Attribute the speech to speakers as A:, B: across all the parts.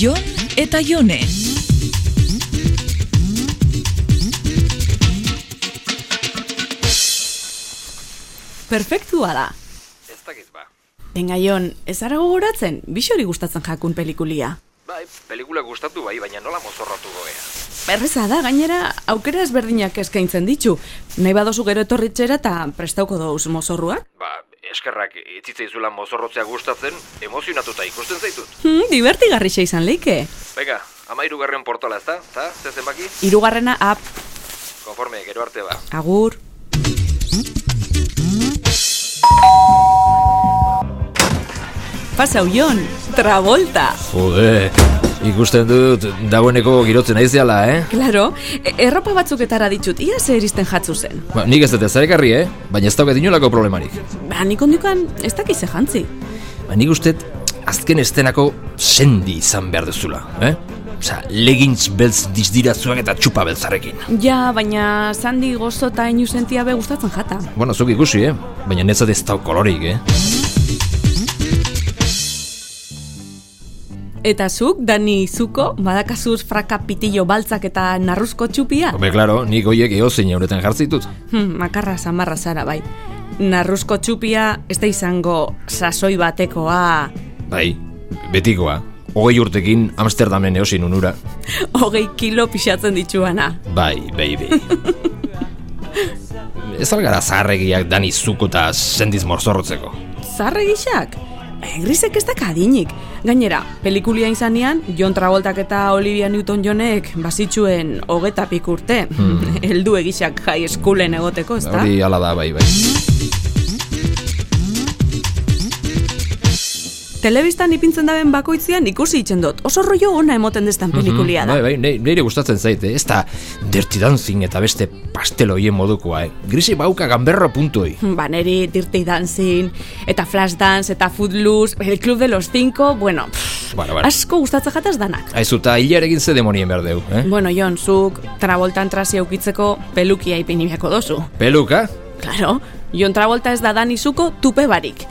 A: Jon eta Jone.
B: Perfektua da.
C: Ez dakit ba.
B: Benga Jon, ez ara gogoratzen, bisori gustatzen jakun pelikulia.
C: Bai, pelikula gustatu bai, baina nola mozorratu gogea.
B: Berreza da, gainera, aukera ezberdinak eskaintzen ditu. Nahi badozu gero etorritxera eta prestauko dauz mozorruak?
C: Ba, eskerrak itzitzaizula mozorrotzea gustatzen, emozionatuta ikusten zaitut.
B: Hmm, divertigarri xe izan leike.
C: Bega, ama irugarren portala ezta, ta, ze zenbaki?
B: Hirugarrena ap,
C: Konforme, gero arte ba.
B: agur. Pasau Jon, Travolta.
C: Jode, ikusten dut, dagoeneko girotzen aiziala, eh?
B: Claro, e- erropa batzuketara ditut, ia ze eristen jatzu zen.
C: Ba, nik ez dut ezarekarri, eh? Baina ez daukat inolako problemarik.
B: Ba, nik ondukan ez dakiz jantzi.
C: Ba, nik uste dut, azken estenako sendi izan behar duzula, eh? Osa, legintz beltz dizdirazuak eta txupa beltzarekin.
B: Ja, baina Sandy gozo eta inusentia be gustatzen jata.
C: Bueno, zuk ikusi, eh? Baina netzat ez dau kolorik, eh?
B: Eta zuk, Dani Zuko, badakazuz fraka pitillo baltzak eta narruzko txupia?
C: Hombre, claro, nik hoiek eozein euretan jartzitut.
B: Hm, makarra samarra zara bai. Narruzko txupia ez da izango sasoi batekoa
C: Bai, betikoa. Hogei urtekin Amsterdamen eosin unura.
B: hogei kilo pixatzen dituana.
C: Bai, baby. Ez algara zaharregiak dani zuko eta sendiz morzorrotzeko.
B: Zarre gixak? Eh, Grisek ez da kadinik. Gainera, pelikulia izanean, John Travoltak eta Olivia Newton-Johnek bazitxuen hogeta pik urte. Heldu egixak jai eskulen egoteko, ez da?
C: Hmm. Hori ala da, bai, bai.
B: Telebistan ipintzen daben bakoitzean ikusi itzen dut. Oso rollo ona emoten destan pelikulia Mm, da.
C: Bai, bai, nei- neire gustatzen zaite, ez da Dirty Dancing eta beste pasteloien modukoa, eh? Grisi bauka ganberro puntoi.
B: Ba, neri Dirty Dancing, eta Flash Dance, eta Footloose, El Club de los Cinco, bueno, pff,
C: Bueno, bueno.
B: asko gustatzen jataz danak.
C: Aizuta, hilarekin ze demonien behar deu, eh?
B: Bueno, Jon, zuk Travoltan trasia ukitzeko pelukia ipini beharko dozu.
C: Peluka?
B: Claro, Jon Travolta ez da dan izuko tupe barik.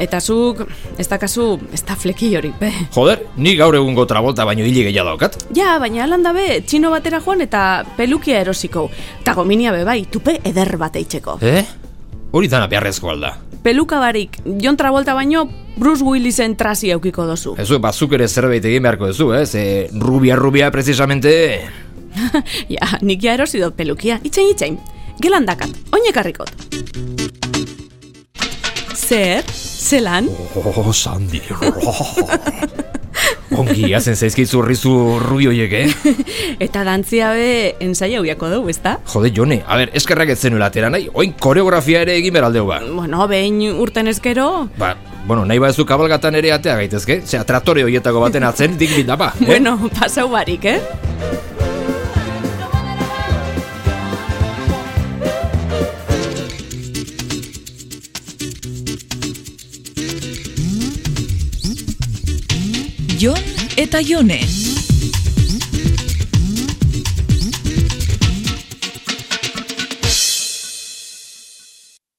B: Eta zuk, ez da kasu, ez da fleki hori, be.
C: Joder, ni gaur egungo trabolta baino hile gehiago daukat.
B: Ja, baina lan dabe, txino batera joan eta pelukia erosiko. Eta gominia be bai, tupe eder bat eitzeko.
C: Eh? Hori dana beharrezko alda.
B: Peluka barik, Jon Travolta baino, Bruce Willisen trasia ukiko dozu.
C: Ez bazuk ere zerbait egin beharko duzu, ez? E, rubia, rubia, precisamente...
B: ja, nik ja erosi dut pelukia, itxain itxain. Gelan dakat, oinek harrikot. Zer, zelan,
C: Oh, Sandy, Ongi, hazen zaizkitzu rizu rubio hoiek, eh?
B: eta dantzia be ensaia uiako dugu, ezta?
C: Jode, Jone, a ber, eskerrak ez zenuela atera nahi, oin koreografia ere egin beraldeu ba.
B: Bueno, behin urten ezkero,
C: Ba, bueno, nahi baduzu kabalgatan ere atea gaitezke, zera traktore hoietako baten atzen dik bindapa. eh?
B: bueno, pasau barik, eh?
A: Jon eta Jone.